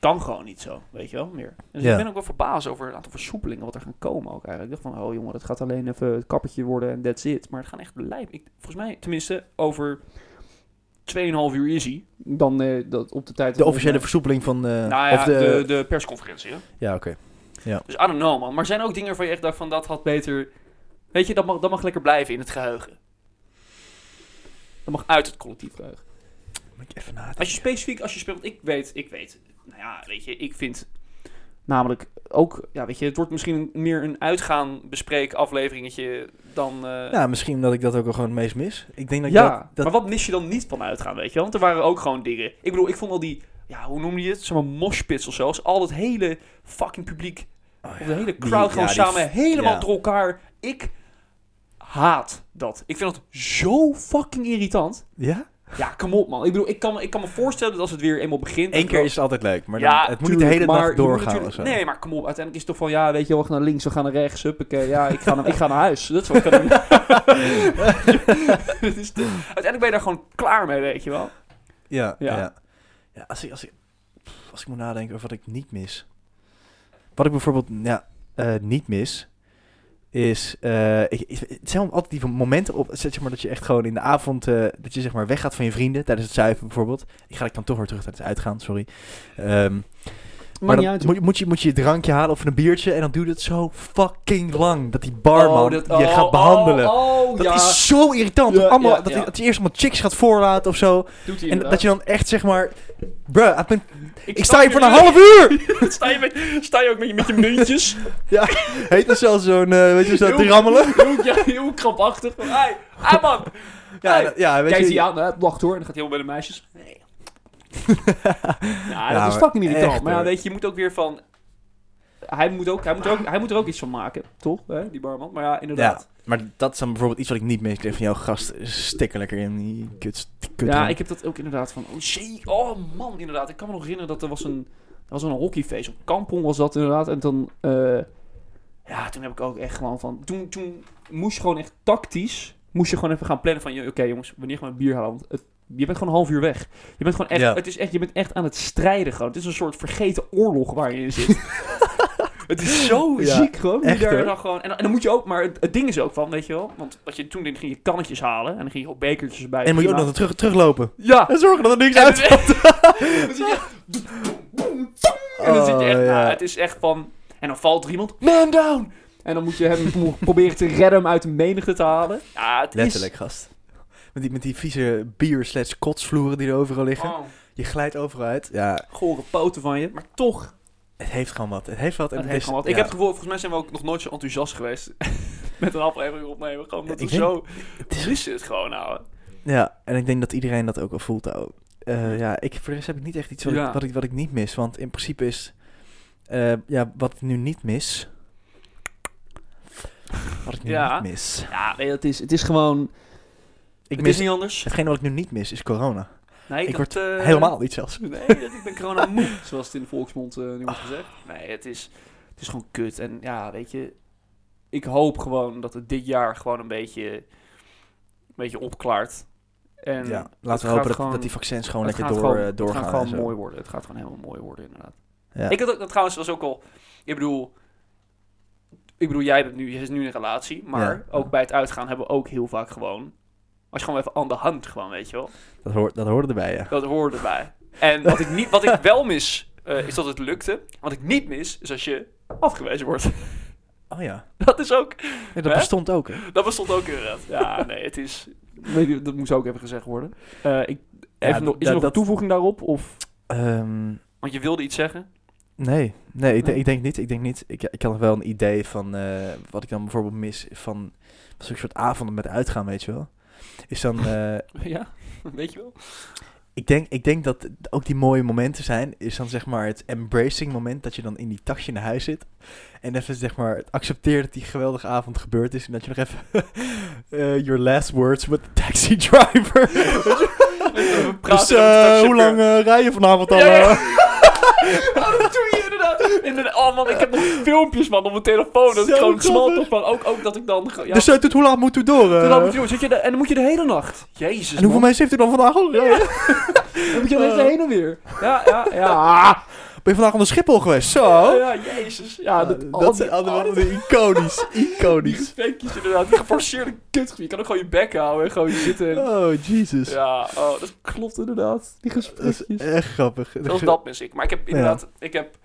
Speaker 1: kan gewoon niet zo, weet je wel, meer. En dus
Speaker 2: Ja.
Speaker 1: ik ben ook wel verbaasd over het aantal versoepelingen wat er gaan komen ook eigenlijk. Ik dacht van, oh jongen, het gaat alleen even het kappertje worden en that's it. Maar het gaan echt lijp. Ik, volgens mij, tenminste, over... 2,5 uur easy. Dan eh, dat op de tijd.
Speaker 2: De officiële versoepeling van... eh,
Speaker 1: Nou ja,
Speaker 2: of
Speaker 1: de,
Speaker 2: de,
Speaker 1: de, persconferentie. Hè?
Speaker 2: Ja, oké.
Speaker 1: Dus I don't know, man. Maar er zijn ook dingen waarvan je echt dacht van dat had beter... Weet je, dat mag, dat mag lekker blijven in het geheugen. Dat mag uit het collectief geheugen.
Speaker 2: Moet ik even nadenken.
Speaker 1: Als je specifiek, als je speelt... Ik weet, ik weet. Nou ja, weet je, ik vind... Namelijk ook, ja, weet je, het wordt misschien meer een uitgaan bespreek afleveringetje dan... eh,
Speaker 2: Nou, misschien omdat ik dat ook wel gewoon het meest mis. Ik denk dat ik
Speaker 1: ja,
Speaker 2: dat... dat
Speaker 1: maar wat mis je dan niet van uitgaan, weet je? Want er waren ook gewoon dingen. Ik bedoel, ik vond al die, ja, hoe noem je het? Zeg maar moshpits of zo. Als al dat hele fucking publiek,
Speaker 2: Oh
Speaker 1: of de hele crowd
Speaker 2: Die- ja,
Speaker 1: gewoon
Speaker 2: die-
Speaker 1: samen helemaal
Speaker 2: ja.
Speaker 1: door elkaar. Ik haat dat. Ik vind dat zo fucking irritant.
Speaker 2: ja?
Speaker 1: Ja, kom op man. Ik bedoel, ik kan, me- ik kan me voorstellen dat als het weer eenmaal begint...
Speaker 2: Eén
Speaker 1: dat
Speaker 2: keer
Speaker 1: wel-
Speaker 2: is het altijd leuk, maar
Speaker 1: Ja,
Speaker 2: dan, het moet niet de
Speaker 1: eh, tuurlijk,
Speaker 2: hele
Speaker 1: maar
Speaker 2: dag
Speaker 1: je moet
Speaker 2: doorgaan
Speaker 1: natuurlijk-
Speaker 2: of zo.
Speaker 1: Nee, maar kom op. Uiteindelijk is het toch van, ja, weet je, we gaan naar links, we gaan naar rechts, huppakee. Ja, ik ga naar, ik ga naar huis. Dat is wat ik kan doen. Het is te- uiteindelijk ben je daar gewoon klaar mee, weet je wel.
Speaker 2: Ja,
Speaker 1: Ja.
Speaker 2: ja. ja. als, ik, als, ik, pff, als ik moet nadenken over wat ik niet mis. Wat ik bijvoorbeeld ja, eh, niet mis, is... eh, ik, ik- het zijn altijd die momenten op, zeg maar, dat je echt gewoon in de avond... eh, dat je zeg maar weggaat van je vrienden tijdens het zuipen bijvoorbeeld. Ik ga ik dan toch weer terug tijdens uitgaan, sorry. Ehm, maar dan moet, je- moet, je, moet je je drankje halen of een biertje en dan duurt het zo fucking lang dat die barman je gaat behandelen.
Speaker 1: Oh,
Speaker 2: Dat
Speaker 1: ja.
Speaker 2: is zo irritant.
Speaker 1: Ja,
Speaker 2: dat allemaal,
Speaker 1: ja,
Speaker 2: dat,
Speaker 1: ja.
Speaker 2: je, dat je eerst allemaal chicks gaat voorlaten of zo.
Speaker 1: Doet hij
Speaker 2: En dat je dan echt zeg maar... Bruh, ik, ben-
Speaker 1: ik,
Speaker 2: ik sta hier voor een half uur!
Speaker 1: sta, je met, sta je ook met je, met je muntjes?
Speaker 2: Heet dat zelfs zo'n, eh, weet je, zo
Speaker 1: Heel-
Speaker 2: te rammelen?
Speaker 1: Heel, ja, heel krampachtig. Van, hey, ah man.
Speaker 2: Ja,
Speaker 1: Hey.
Speaker 2: dat- ja, weet
Speaker 1: Kijkt
Speaker 2: je...
Speaker 1: hij aan, hè, lacht hoor. En dan gaat hij helemaal bij de meisjes. Nee. ja, dat
Speaker 2: Ja,
Speaker 1: is
Speaker 2: maar
Speaker 1: fucking irritant.
Speaker 2: echt, eh.
Speaker 1: maar ja,
Speaker 2: hoor.
Speaker 1: weet je, je moet ook weer van... Hij moet, ook, hij, moet er ook, hij moet er ook iets van maken, toch? Hè, die barman. Maar ja,
Speaker 2: Ja,
Speaker 1: inderdaad.
Speaker 2: maar dat is dan bijvoorbeeld iets wat ik niet mis. Ik denk van, jouw gast, eh, stik er lekker in die kut,
Speaker 1: Ja,
Speaker 2: kut
Speaker 1: ik heb dat ook inderdaad van... Oh, jee, oh man, inderdaad. Ik kan me nog herinneren dat er was een... Er was een hockeyfeest. Op Kampong was dat inderdaad. En dan... eh, ja, toen heb ik ook echt gewoon van... Toen, toen moest je gewoon echt tactisch... Moest je gewoon even gaan plannen van... joh, Oké jongens, wanneer gaan we bier halen? Want het, je bent gewoon een half uur weg. Je bent gewoon echt...
Speaker 2: Ja.
Speaker 1: Het is echt je bent echt aan het strijden gewoon. Het is een soort vergeten oorlog waar je in zit. het is zo
Speaker 2: Ja,
Speaker 1: ziek gewoon. hoe je
Speaker 2: echt,
Speaker 1: daar
Speaker 2: hoor.
Speaker 1: dan gewoon en, dan- en dan moet je ook... Maar het, het ding is ook van, weet je wel... Want wat je toen deed, ging je kannetjes halen. En dan ging je ook bekertjes bij.
Speaker 2: En moet je ook
Speaker 1: Prima.
Speaker 2: nog terug, teruglopen.
Speaker 1: Ja,
Speaker 2: En zorgen dat er niks
Speaker 1: en
Speaker 2: uit...
Speaker 1: dan- dan zit je- En dan zit je echt,
Speaker 2: Oh, ja.
Speaker 1: nou, het is echt van... En dan valt er iemand, man down! En dan moet je hem pro- proberen te redden om uit de menigte te halen. Ja, het
Speaker 2: Letterlijk, gast. Met die, met die vieze bier slash kotsvloeren die er overal
Speaker 1: is...
Speaker 2: liggen.
Speaker 1: Oh,
Speaker 2: Je glijdt overal uit. Ja,
Speaker 1: gore poten van je. Maar toch,
Speaker 2: het heeft gewoon wat. Het heeft wat. en
Speaker 1: het
Speaker 2: het
Speaker 1: heeft
Speaker 2: is-
Speaker 1: gewoon wat.
Speaker 2: ja.
Speaker 1: Ik heb het gevoel, volgens mij zijn we ook nog nooit zo enthousiast geweest... met een aflevering opnemen. Gewoon omdat
Speaker 2: Ik
Speaker 1: we
Speaker 2: denk-
Speaker 1: zo... Het is het gewoon, nou.
Speaker 2: Ja, en ik denk dat iedereen dat ook wel voelt. Ook. Eh, ja, ik, voor de rest heb ik niet echt iets wat,
Speaker 1: Ja.
Speaker 2: ik, wat, ik, wat ik niet mis. Want in principe is... eh, ja, wat ik nu niet mis... Wat ik nu
Speaker 1: Ja.
Speaker 2: niet mis...
Speaker 1: Ja, weet je, het is, het is gewoon...
Speaker 2: Ik
Speaker 1: het
Speaker 2: mis
Speaker 1: is niet anders.
Speaker 2: Hetgeen wat ik nu niet mis is corona.
Speaker 1: Nee, dat,
Speaker 2: ik word
Speaker 1: eh,
Speaker 2: Helemaal niet zelfs.
Speaker 1: Nee, dat- ik ben corona moe, zoals het in de volksmond eh, nu wordt gezegd. Nee, het is, het is gewoon kut. En ja, weet je, ik hoop gewoon dat het dit jaar gewoon een beetje, een beetje opklaart. En
Speaker 2: ja,
Speaker 1: het
Speaker 2: laten we
Speaker 1: gaat
Speaker 2: hopen dat,
Speaker 1: gewoon-
Speaker 2: dat die vaccins gewoon
Speaker 1: het
Speaker 2: lekker
Speaker 1: gaat
Speaker 2: door,
Speaker 1: gewoon-
Speaker 2: eh, doorgaan.
Speaker 1: Het
Speaker 2: en
Speaker 1: gaat gewoon
Speaker 2: zo.
Speaker 1: mooi worden. Het gaat gewoon helemaal mooi worden, inderdaad.
Speaker 2: Ja.
Speaker 1: Ik had ook, dat trouwens was ook al, ik bedoel, ik bedoel, jij bent nu, je is nu in een relatie, maar
Speaker 2: Ja.
Speaker 1: ook bij het uitgaan hebben we ook heel vaak gewoon, als je gewoon even aan de hand gewoon, weet je wel.
Speaker 2: Dat, hoort, dat hoorde erbij, ja.
Speaker 1: Dat hoorde erbij. En wat ik, niet, wat ik wel mis, eh, is dat het lukte. Wat ik niet mis, is als je afgewezen wordt.
Speaker 2: Oh ja.
Speaker 1: Dat is ook...
Speaker 2: Ja, dat
Speaker 1: Hè?
Speaker 2: bestond ook, hè.
Speaker 1: Dat bestond ook inderdaad. Ja, nee, het is... dat moest ook even gezegd worden. Eh, ik, even nog, is er
Speaker 2: dat-
Speaker 1: nog een
Speaker 2: dat-
Speaker 1: toevoeging daarop? Of,
Speaker 2: Ehm,
Speaker 1: want je wilde iets zeggen?
Speaker 2: Nee, nee, ik, denk-
Speaker 1: Nee?
Speaker 2: ik denk niet. Ik denk niet. Ik, ik had nog wel een idee van eh, wat ik dan bijvoorbeeld mis van zo'n soort avonden met uitgaan, weet je wel. Is dan, eh,
Speaker 1: Ja, weet je wel.
Speaker 2: ik, denk, ik denk dat het ook die mooie momenten zijn, is dan zeg maar het embracing moment dat je dan in die tasje naar huis zit. En even zeg maar het accepteert dat die geweldige avond gebeurd is en dat je nog even eh, your last words with the taxi driver.
Speaker 1: We
Speaker 2: Dus
Speaker 1: praten over
Speaker 2: eh,
Speaker 1: taxichauffeur.
Speaker 2: hoe lang eh, rij je vanavond al?
Speaker 1: Ja, ja.
Speaker 2: eh?
Speaker 1: Oh, dat doe je inderdaad. Inderdaad. Oh man, ik heb nog filmpjes man op mijn telefoon. Dat
Speaker 2: Zo
Speaker 1: ik gewoon
Speaker 2: grappig.
Speaker 1: smalt man. Ook, ook dat ik dan... ge- Ja,
Speaker 2: Dus eh, tot hoe laat moet u door? eh?
Speaker 1: Toen had ik het, joh, zit je de- en dan moet je de hele nacht. Jezus
Speaker 2: en hoeveel
Speaker 1: man.
Speaker 2: mensen heeft u dan vandaag al? gereden?
Speaker 1: Dan moet je dan
Speaker 2: Eh.
Speaker 1: heen en weer. Ja, ja, ja.
Speaker 2: Ben je vandaag onder Schiphol geweest? Zo.
Speaker 1: Ja, ja, jezus. Ja, dat,
Speaker 2: Ah, dat zijn allemaal van die iconisch.
Speaker 1: Die
Speaker 2: Iconisch.
Speaker 1: gesprekjes inderdaad. Die geforceerde kut. Je kan ook gewoon je bek houden en gewoon zitten.
Speaker 2: Oh, Jesus.
Speaker 1: Ja, oh, dat klopt inderdaad. Die
Speaker 2: Dat is
Speaker 1: gesprekjes.
Speaker 2: echt grappig.
Speaker 1: Zelfs dat mis ik. Maar ik heb inderdaad... Ik heb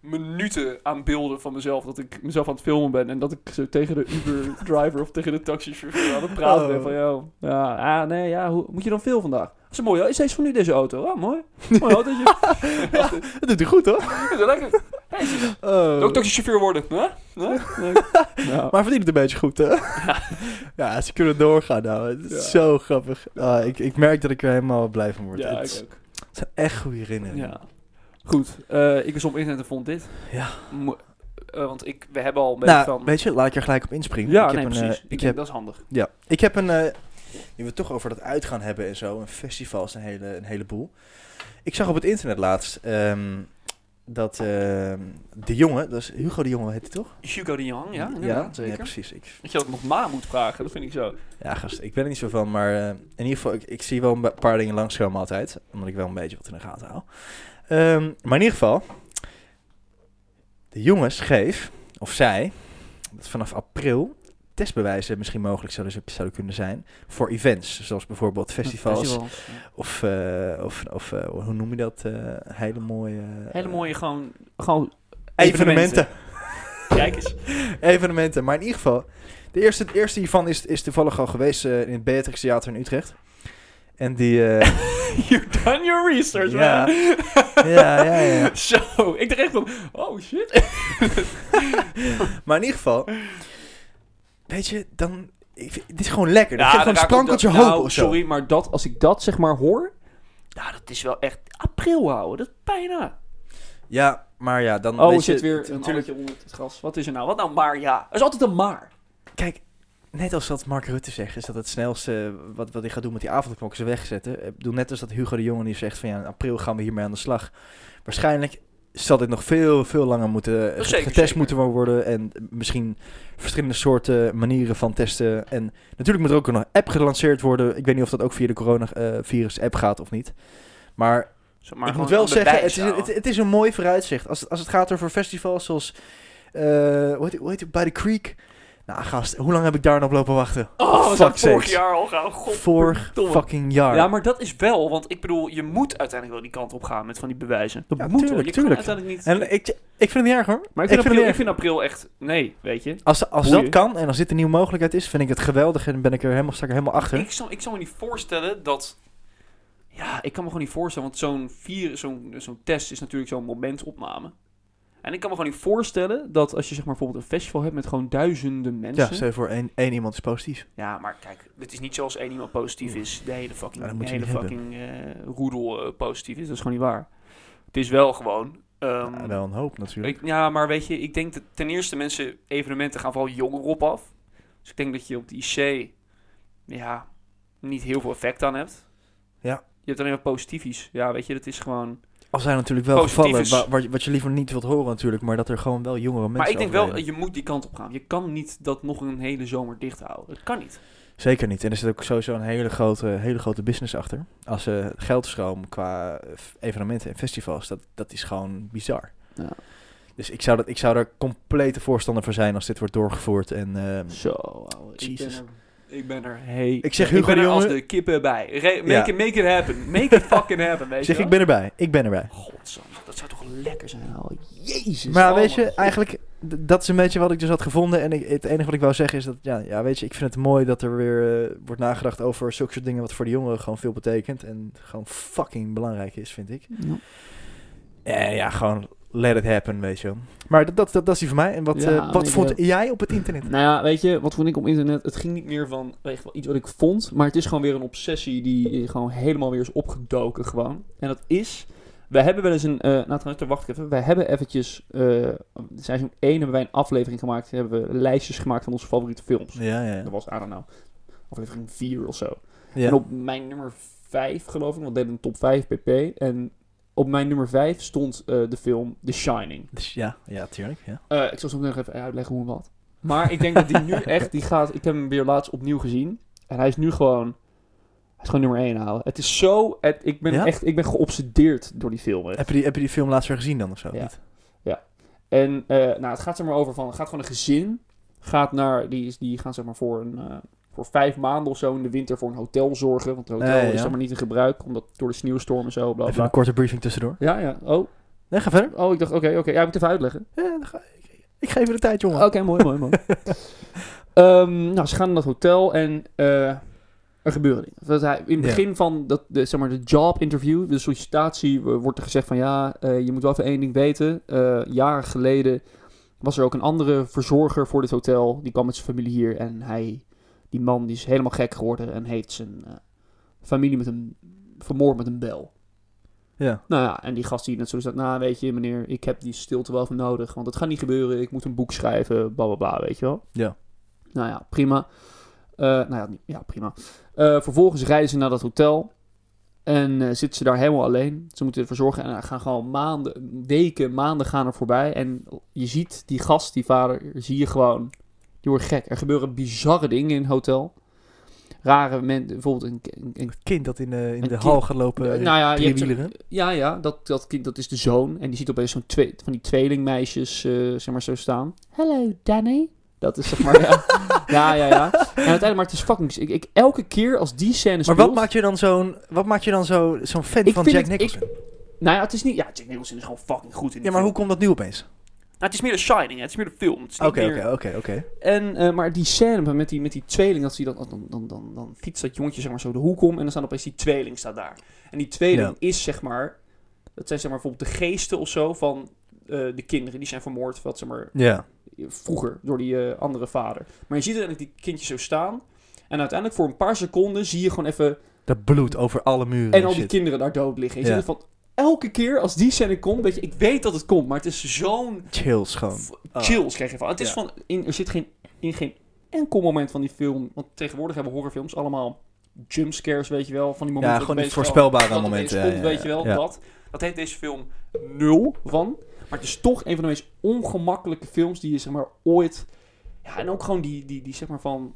Speaker 1: minuten aan beelden van mezelf. Dat ik mezelf aan het filmen ben. En dat ik zo tegen de Uber-driver of tegen de taxichauffeur aan het praten
Speaker 2: Oh.
Speaker 1: ben. Van, joh, ja, ah, nee, ja, hoe, moet je dan veel vandaag? Dat is een mooie... Is deze van nu deze auto? Ah, mooi. Mooi autootje. ja,
Speaker 2: Dat doet hij goed, hoor.
Speaker 1: dat is lekker. Jezus.
Speaker 2: Oh.
Speaker 1: Ook taxichauffeur worden. Hè? Hè? Nee. Ja.
Speaker 2: Maar verdient het een beetje goed, hè? Ja, ze kunnen doorgaan, nou. Het is
Speaker 1: Ja.
Speaker 2: zo grappig. Ah, ik, ik merk dat ik er helemaal blij van word.
Speaker 1: Ja,
Speaker 2: het,
Speaker 1: ik ook.
Speaker 2: het zijn echt goede herinneringen.
Speaker 1: Ja. Goed, eh, ik was op internet en vond dit.
Speaker 2: Ja.
Speaker 1: Mo- eh, want ik, we hebben al een beetje
Speaker 2: Nou,
Speaker 1: van...
Speaker 2: weet je, laat ik er gelijk op inspringen.
Speaker 1: ja,
Speaker 2: ik heb
Speaker 1: nee,
Speaker 2: een, eh,
Speaker 1: precies. ik
Speaker 2: ik
Speaker 1: denk,
Speaker 2: heb,
Speaker 1: dat is handig.
Speaker 2: ja, ik heb een... eh, nu we het toch over dat uitgaan hebben en zo. En festivals, een, hele, een heleboel. Ik zag op het internet laatst ehm, dat ehm, de jongen... Dat is Hugo de Jonge heet hij toch?
Speaker 1: Hugo de Jong, ja, inderdaad,
Speaker 2: Ja,
Speaker 1: zeker.
Speaker 2: precies. Ik,
Speaker 1: dat je ook nog ma moet vragen, dat vind ik zo.
Speaker 2: ja, gast, ik ben er niet zo van, maar eh, in ieder geval, ik, ik zie wel een ba- paar dingen langskomen altijd. Omdat ik wel een beetje wat in de gaten hou. Ehm, maar in ieder geval, de jongens geef, of zij, dat vanaf april testbewijzen misschien mogelijk zouden, zouden kunnen zijn voor events. Zoals bijvoorbeeld festivals, of, eh, of, of eh, hoe noem je dat? eh, hele mooie... eh,
Speaker 1: Hele mooie gewoon, gewoon
Speaker 2: evenementen.
Speaker 1: Kijk eens.
Speaker 2: evenementen. Maar in ieder geval, de eerste, de eerste hiervan is, is toevallig al geweest eh, in het Beatrix Theater in Utrecht. En die... eh,
Speaker 1: You've done your research,
Speaker 2: Ja.
Speaker 1: man.
Speaker 2: ja, ja, ja.
Speaker 1: Zo, ik dacht echt van, oh shit.
Speaker 2: Maar in ieder geval, weet je, dan... Ik, vind- dit is gewoon lekker. Dat
Speaker 1: Ja,
Speaker 2: geeft
Speaker 1: dan
Speaker 2: gewoon
Speaker 1: raak
Speaker 2: een
Speaker 1: ik op
Speaker 2: sprankeltje
Speaker 1: dat-
Speaker 2: hoop
Speaker 1: nou,
Speaker 2: of zo.
Speaker 1: Sorry, maar dat, als ik dat zeg maar hoor... Nou, dat is wel echt april houden, dat is bijna...
Speaker 2: Ja, maar ja, dan
Speaker 1: Oh,
Speaker 2: Mm, weet
Speaker 1: er zit
Speaker 2: je...
Speaker 1: weer een
Speaker 2: natuurlijk-
Speaker 1: natuurlijk onder het gras. Wat is er nou? Wat nou maar ja? Er is altijd een maar.
Speaker 2: Kijk, net als dat Mark Rutte zegt, is dat het snelste eh, wat, wat hij gaat doen met die avondklok is wegzetten. Ik bedoel, net als dat Hugo de Jonge die zegt van ja, in april gaan we hiermee aan de slag. Waarschijnlijk zal dit nog veel, veel langer moeten eh,
Speaker 1: Zeker,
Speaker 2: getest
Speaker 1: zeker.
Speaker 2: moeten worden. En eh, misschien verschillende soorten manieren van testen. En natuurlijk moet er ook nog een app gelanceerd worden. Ik weet niet of dat ook via de coronavirus app gaat of niet. Maar ik moet wel zeggen, het is, het, het is een mooi vooruitzicht. Als, het- als het gaat over festivals zoals... eh, hoe, heet, die- hoe heet die? By the Creek. Nou, gast, hoe lang heb ik daar nog op lopen wachten?
Speaker 1: oh, dat
Speaker 2: fuck
Speaker 1: zou ik vorig
Speaker 2: sakes.
Speaker 1: jaar al gaan. God.
Speaker 2: Vorig fucking jaar.
Speaker 1: Ja, maar dat is wel, want ik bedoel, je moet uiteindelijk wel die kant op gaan met van die bewijzen. Dat
Speaker 2: Ja,
Speaker 1: moet wel.
Speaker 2: tuurlijk,
Speaker 1: je
Speaker 2: tuurlijk.
Speaker 1: kan uiteindelijk niet.
Speaker 2: En ik, ik vind het niet erg, hoor.
Speaker 1: maar ik vind,
Speaker 2: ik vind
Speaker 1: april,
Speaker 2: het
Speaker 1: ik vind april echt, nee, weet je.
Speaker 2: Als, als dat
Speaker 1: Boeien.
Speaker 2: kan en als dit een nieuwe mogelijkheid is, vind ik het geweldig. En ben ik er helemaal, sta ik er helemaal achter.
Speaker 1: Ik zou, ik zou me niet voorstellen dat, ja, ik kan me gewoon niet voorstellen, want zo'n vier, zo'n, zo'n test is natuurlijk zo'n momentopname. En ik kan me gewoon niet voorstellen dat als je zeg maar bijvoorbeeld een festival hebt met gewoon duizenden mensen.
Speaker 2: ja, stel je voor één, één iemand is positief.
Speaker 1: Ja, maar kijk, het is niet zoals één iemand positief is, de hele fucking,
Speaker 2: Ja, dat moet
Speaker 1: de
Speaker 2: je
Speaker 1: hele
Speaker 2: niet
Speaker 1: fucking eh, roedel eh, positief is. Dat is gewoon niet waar. Het is wel gewoon. ehm,
Speaker 2: Ja, wel een hoop, natuurlijk.
Speaker 1: ik, ja, maar weet je, ik denk dat ten eerste mensen, evenementen gaan vooral jonger op af. Dus ik denk dat je op de IC, ja, niet heel veel effect aan hebt.
Speaker 2: Ja.
Speaker 1: Je hebt alleen maar positiefjes. Ja, weet je, dat is gewoon...
Speaker 2: Al zijn natuurlijk wel
Speaker 1: Positief
Speaker 2: gevallen
Speaker 1: is-
Speaker 2: wa- wat, je- wat je liever niet wilt horen, natuurlijk. Maar dat er gewoon wel jongere mensen
Speaker 1: maar ik denk wel,
Speaker 2: overlijden.
Speaker 1: je moet die kant op gaan. Je kan niet dat nog een hele zomer dicht houden. Dat kan niet.
Speaker 2: Zeker niet. En er zit ook sowieso een hele grote, hele grote business achter. Als ze geldstroom qua eh, f- evenementen en festivals, dat, dat is gewoon bizar.
Speaker 1: Ja.
Speaker 2: Dus ik zou, dat, ik zou er complete voorstander voor zijn als dit wordt doorgevoerd. En ehm,
Speaker 1: Zo, ouwe,
Speaker 2: Jezus.
Speaker 1: Ik ben er, ik ben er hey,
Speaker 2: Ik zeg Hugo
Speaker 1: ben
Speaker 2: de
Speaker 1: er als
Speaker 2: Jonge-
Speaker 1: de kippen bij. Re- make,
Speaker 2: Ja.
Speaker 1: it, make it happen. Make it fucking happen, weet
Speaker 2: zeg,
Speaker 1: je
Speaker 2: ik ben erbij. Ik ben erbij.
Speaker 1: Godsam, dat zou toch lekker zijn, ouwe. Jezus.
Speaker 2: Maar ja,
Speaker 1: oh,
Speaker 2: weet je,
Speaker 1: man.
Speaker 2: eigenlijk, d- dat is een beetje wat ik dus had gevonden. En ik, het enige wat ik wou zeggen is dat, ja, ja weet je, ik vind het mooi dat er weer eh, wordt nagedacht over zulke soort dingen wat voor de jongeren gewoon veel betekent. En gewoon fucking belangrijk is, vind ik.
Speaker 1: Ja.
Speaker 2: Eh, ja, gewoon let it happen, weet je wel. Maar dat, dat, dat, dat is die van mij. En wat,
Speaker 1: Ja,
Speaker 2: eh, wat
Speaker 1: ik
Speaker 2: vond
Speaker 1: wel.
Speaker 2: jij op het internet?
Speaker 1: Nou ja, weet je, wat vond ik op internet? Het ging niet meer van weet je, wel, iets wat ik vond, maar het is gewoon weer een obsessie die eh, gewoon helemaal weer is opgedoken gewoon. En dat is, we hebben wel eens een, eh nou trouwens, daar wacht ik even. We hebben eventjes, eh seizoen 1 hebben wij een aflevering gemaakt, hebben we lijstjes gemaakt van onze favoriete films.
Speaker 2: Ja, ja.
Speaker 1: Dat was, I don't know, aflevering 4 of zo.
Speaker 2: ja.
Speaker 1: En op mijn nummer 5, geloof ik. Want we deden een top 5 pp. En op mijn nummer 5 stond eh, de film The Shining.
Speaker 2: Dus ja, ja, tuurlijk. Ja.
Speaker 1: Eh, ik zal zo meteen nog even uitleggen hoe en wat. Maar ik denk dat die nu echt, die gaat, ik heb hem weer laatst opnieuw gezien. En hij is nu gewoon, hij is gewoon nummer 1 houden. Het is zo, het, ik ben
Speaker 2: Ja?
Speaker 1: echt, ik ben geobsedeerd door die film. echt.
Speaker 2: Heb, je die, heb je die film laatst weer gezien dan of zo?
Speaker 1: Ja.
Speaker 2: Niet?
Speaker 1: En eh, nou, het gaat er maar over van, het gaat gewoon een gezin, gaat naar, die, is, die gaan zeg maar voor een, eh, voor vijf maanden of zo in de winter voor een hotel zorgen. Want het hotel
Speaker 2: Nee,
Speaker 1: is
Speaker 2: ja.
Speaker 1: zeg maar niet in gebruik, omdat door de sneeuwstorm en zo, bla
Speaker 2: Even een
Speaker 1: bla.
Speaker 2: korte briefing tussendoor.
Speaker 1: Ja, ja. Oh,
Speaker 2: Nee, ga verder.
Speaker 1: oh ik dacht, oké, oké. Ja, ik moet even uitleggen.
Speaker 2: Ja, dan ga- ik, ik geef je de tijd, jongen.
Speaker 1: Oké, mooi, mooi, mooi. Ehm, nou, ze gaan naar dat hotel en eh, er gebeuren dingen. Dat hij, in het
Speaker 2: Ja.
Speaker 1: begin van dat, de, zeg maar, de job interview, de sollicitatie, eh, wordt er gezegd van ja, eh, je moet wel even één ding weten. Eh, jaren geleden was er ook een andere verzorger voor dit hotel. Die kwam met zijn familie hier en hij, die man, die is helemaal gek geworden en heeft zijn eh, familie met een, vermoord met een bel.
Speaker 2: Ja.
Speaker 1: Nou ja, en die gast die net zo zegt, nou weet je meneer, ik heb die stilte wel van nodig, want het gaat niet gebeuren, ik moet een boek schrijven, bla bla bla, weet je wel.
Speaker 2: Ja.
Speaker 1: Nou ja, prima. Eh, nou ja, niet- ja prima. Eh, vervolgens reizen ze naar dat hotel en eh, zitten ze daar helemaal alleen. Ze moeten ervoor zorgen en er gaan gewoon maanden, weken, maanden gaan er voorbij. En je ziet die gast, die vader, zie je gewoon, die wordt gek. Er gebeuren bizarre dingen in het hotel. Rare mensen, bijvoorbeeld een, een, een
Speaker 2: Het kind dat in de, in
Speaker 1: Een
Speaker 2: de
Speaker 1: kind-
Speaker 2: hal gaat lopen.
Speaker 1: eh, nou ja, je hebt-
Speaker 2: driewieleren.
Speaker 1: ja, ja, dat, dat kind dat is de zoon. En die ziet opeens zo'n twee, van die tweelingmeisjes eh, zeg maar, zo staan. Hello, Danny. Dat is zeg maar, ja. ja, ja, ja. En uiteindelijk, maar het is fucking... Ik, ik, elke keer als die scène
Speaker 2: Maar
Speaker 1: speelt...
Speaker 2: wat maakt je dan zo'n, wat maakt je dan zo, zo'n fan
Speaker 1: Ik
Speaker 2: van
Speaker 1: vind
Speaker 2: Jack
Speaker 1: het- ik-
Speaker 2: Nicholson?
Speaker 1: Nou ja, het is niet... Ja, Jack Nicholson is gewoon fucking goed in die
Speaker 2: ja, maar hoe
Speaker 1: film.
Speaker 2: komt dat nu opeens?
Speaker 1: Nou, het is meer de Shining, hè. Het is meer de film. Het is niet
Speaker 2: Oké,
Speaker 1: meer-
Speaker 2: oké, oké, oké.
Speaker 1: En, eh, maar die scène met die, met die tweeling, dat ze die dan, dan, dan, dan, dan fietst dat jongetje zeg maar zo de hoek om en dan staat opeens die tweeling staat daar. En die tweeling
Speaker 2: Ja.
Speaker 1: is zeg maar, dat zijn zeg maar bijvoorbeeld de geesten of zo van eh, de kinderen die zijn vermoord, wat zeg maar
Speaker 2: Ja.
Speaker 1: vroeger door die eh, andere vader. Maar je ziet uiteindelijk die kindjes zo staan en uiteindelijk voor een paar seconden zie je gewoon even,
Speaker 2: Dat bloed over alle muren
Speaker 1: en al die
Speaker 2: Oh, shit.
Speaker 1: kinderen daar dood liggen. En je
Speaker 2: Ja.
Speaker 1: ziet het van, elke keer als die scène komt, weet je, ik weet dat het komt, maar het is zo'n
Speaker 2: Chills gewoon.
Speaker 1: v-
Speaker 2: Ah.
Speaker 1: chills krijg je van. Het is
Speaker 2: Ja.
Speaker 1: van in, er zit geen, in geen enkel moment van die film. Want tegenwoordig hebben horrorfilms allemaal jumpscares, weet je wel. Van die momenten
Speaker 2: Ja,
Speaker 1: dat
Speaker 2: gewoon die
Speaker 1: opeens
Speaker 2: voorspelbare
Speaker 1: dat opeens
Speaker 2: momenten. ja,
Speaker 1: komt,
Speaker 2: ja,
Speaker 1: weet je wel,
Speaker 2: eh, ja.
Speaker 1: dat. Dat heeft deze film nul van. Maar het is toch een van de meest ongemakkelijke films die je zeg maar ooit... Ja, en ook gewoon die, die, die zeg maar van...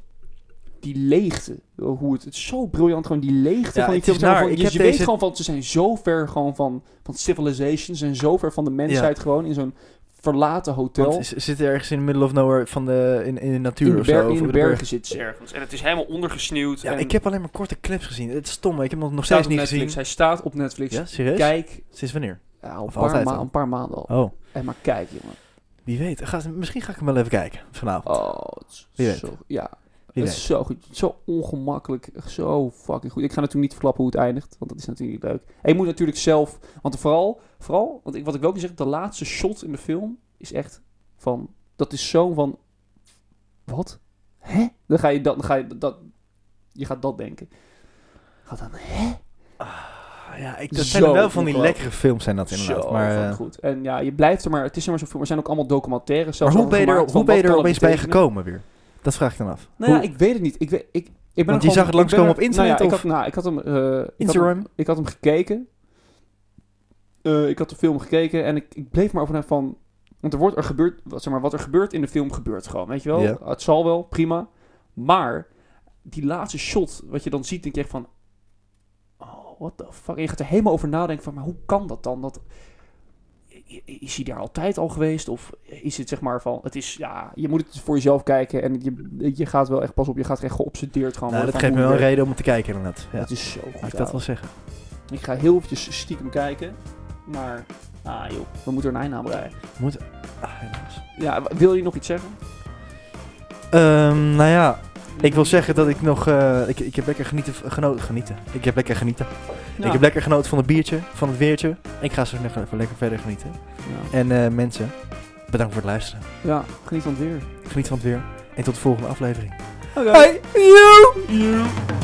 Speaker 1: Die leegte, hoe het, het is zo briljant, gewoon die leegte
Speaker 2: Ja,
Speaker 1: van die
Speaker 2: het is
Speaker 1: film. Zeg maar
Speaker 2: naar.
Speaker 1: van,
Speaker 2: Ik
Speaker 1: je
Speaker 2: heb
Speaker 1: je weet
Speaker 2: deze-
Speaker 1: gewoon van, ze zijn zo ver gewoon van, van civilization, ze zijn zo ver van de mensheid gewoon in zo'n verlaten hotel.
Speaker 2: Want ze zitten ergens in the middle of nowhere van de, in, in de natuur
Speaker 1: in de,
Speaker 2: of zo.
Speaker 1: ber-
Speaker 2: of
Speaker 1: in
Speaker 2: op
Speaker 1: de
Speaker 2: berg.
Speaker 1: bergen zit ze ergens. En het is helemaal ondergesneeuwd.
Speaker 2: Ja,
Speaker 1: en
Speaker 2: ik heb alleen maar korte clips gezien. Het is stom, ik heb hem
Speaker 1: staat
Speaker 2: nog steeds
Speaker 1: op
Speaker 2: niet
Speaker 1: Netflix.
Speaker 2: gezien.
Speaker 1: Hij staat op Netflix.
Speaker 2: Ja, serieus?
Speaker 1: Kijk,
Speaker 2: Sinds wanneer?
Speaker 1: ja, al een,
Speaker 2: Of
Speaker 1: paar
Speaker 2: altijd
Speaker 1: ma-
Speaker 2: al.
Speaker 1: een paar maanden al.
Speaker 2: Oh,
Speaker 1: En maar kijk, jongen.
Speaker 2: wie weet. Ga, misschien ga ik hem wel even kijken vanavond.
Speaker 1: Oh, het is
Speaker 2: Wie weet.
Speaker 1: zo, ja,
Speaker 2: wie
Speaker 1: het
Speaker 2: weet.
Speaker 1: is zo goed. Zo ongemakkelijk. Zo fucking goed. Ik ga natuurlijk niet verklappen hoe het eindigt, want dat is natuurlijk niet leuk. En je moet natuurlijk zelf, want vooral, vooral want ik, wat ik wel kan zeggen, de laatste shot in de film is echt van, dat is zo van, wat? Hè? Dan ga je dat, dan ga je dat, je gaat dat denken. Gaat dan
Speaker 2: Ah, Ja, ik, dat
Speaker 1: Zo
Speaker 2: zijn er wel van die
Speaker 1: ongelooflijk.
Speaker 2: lekkere films zijn dat inderdaad.
Speaker 1: Zo,
Speaker 2: maar
Speaker 1: fucking
Speaker 2: eh,
Speaker 1: goed. En ja, je blijft er maar... Het is maar zo Er zijn ook allemaal documentaires
Speaker 2: maar
Speaker 1: zelfs
Speaker 2: hoe
Speaker 1: over
Speaker 2: ben je
Speaker 1: gemaakt
Speaker 2: er,
Speaker 1: van
Speaker 2: hoe ben je
Speaker 1: wat
Speaker 2: er
Speaker 1: kan dat
Speaker 2: opeens bij
Speaker 1: betekenen?
Speaker 2: gekomen weer? Dat vraag ik dan af.
Speaker 1: Nou ja,
Speaker 2: Hoe-
Speaker 1: ik weet het niet. Ik weet, ik, ik ben
Speaker 2: Want
Speaker 1: er
Speaker 2: je
Speaker 1: gewoon-
Speaker 2: zag het langskomen
Speaker 1: ik ben
Speaker 2: op
Speaker 1: er-
Speaker 2: internet,
Speaker 1: Nou ja,
Speaker 2: of?
Speaker 1: ik had, nou, ik had hem... eh, ik had hem-
Speaker 2: Instagram?
Speaker 1: Ik had hem gekeken. Eh, ik had de film gekeken en ik, ik bleef maar overnaar van... Want er, wordt, er gebeurt... Wat, zeg maar, wat er gebeurt in de film gebeurt gewoon, weet je wel?
Speaker 2: Ja.
Speaker 1: Het zal wel, prima. Maar die laatste shot, wat je dan ziet, denk je echt van... Oh, what the fuck? En je gaat er helemaal over nadenken van, maar hoe kan dat dan? Dat, is hij daar altijd al geweest? Of is het zeg maar van, het is, ja, je moet het voor jezelf kijken en je, je gaat wel echt pas op, je gaat echt geobsedeerd gewoon
Speaker 2: Nou,
Speaker 1: worden van
Speaker 2: dat geeft me wel
Speaker 1: hoe
Speaker 2: een
Speaker 1: het
Speaker 2: reden om het te kijken inderdaad. Ja,
Speaker 1: werkt. Het is zo goed.
Speaker 2: laat ik dat
Speaker 1: ouwe.
Speaker 2: wel zeggen.
Speaker 1: Ik ga heel eventjes stiekem kijken, maar, ah joh, we moeten er een einde aan breien.
Speaker 2: Ah, helaas.
Speaker 1: Ja, w- wil je nog iets zeggen?
Speaker 2: Ehm, nou ja, ik wil zeggen dat ik nog... eh, ik, ik heb lekker genieten, genoten, genieten. Ik heb lekker genieten.
Speaker 1: Ja.
Speaker 2: Ik heb lekker genoten van het biertje, van het weertje. Ik ga zo nog even lekker verder genieten.
Speaker 1: Ja.
Speaker 2: En eh, mensen, bedankt voor het luisteren.
Speaker 1: ja, geniet van het weer.
Speaker 2: Geniet van het weer. En tot de volgende aflevering.
Speaker 1: Oké.
Speaker 2: Hey, you! You!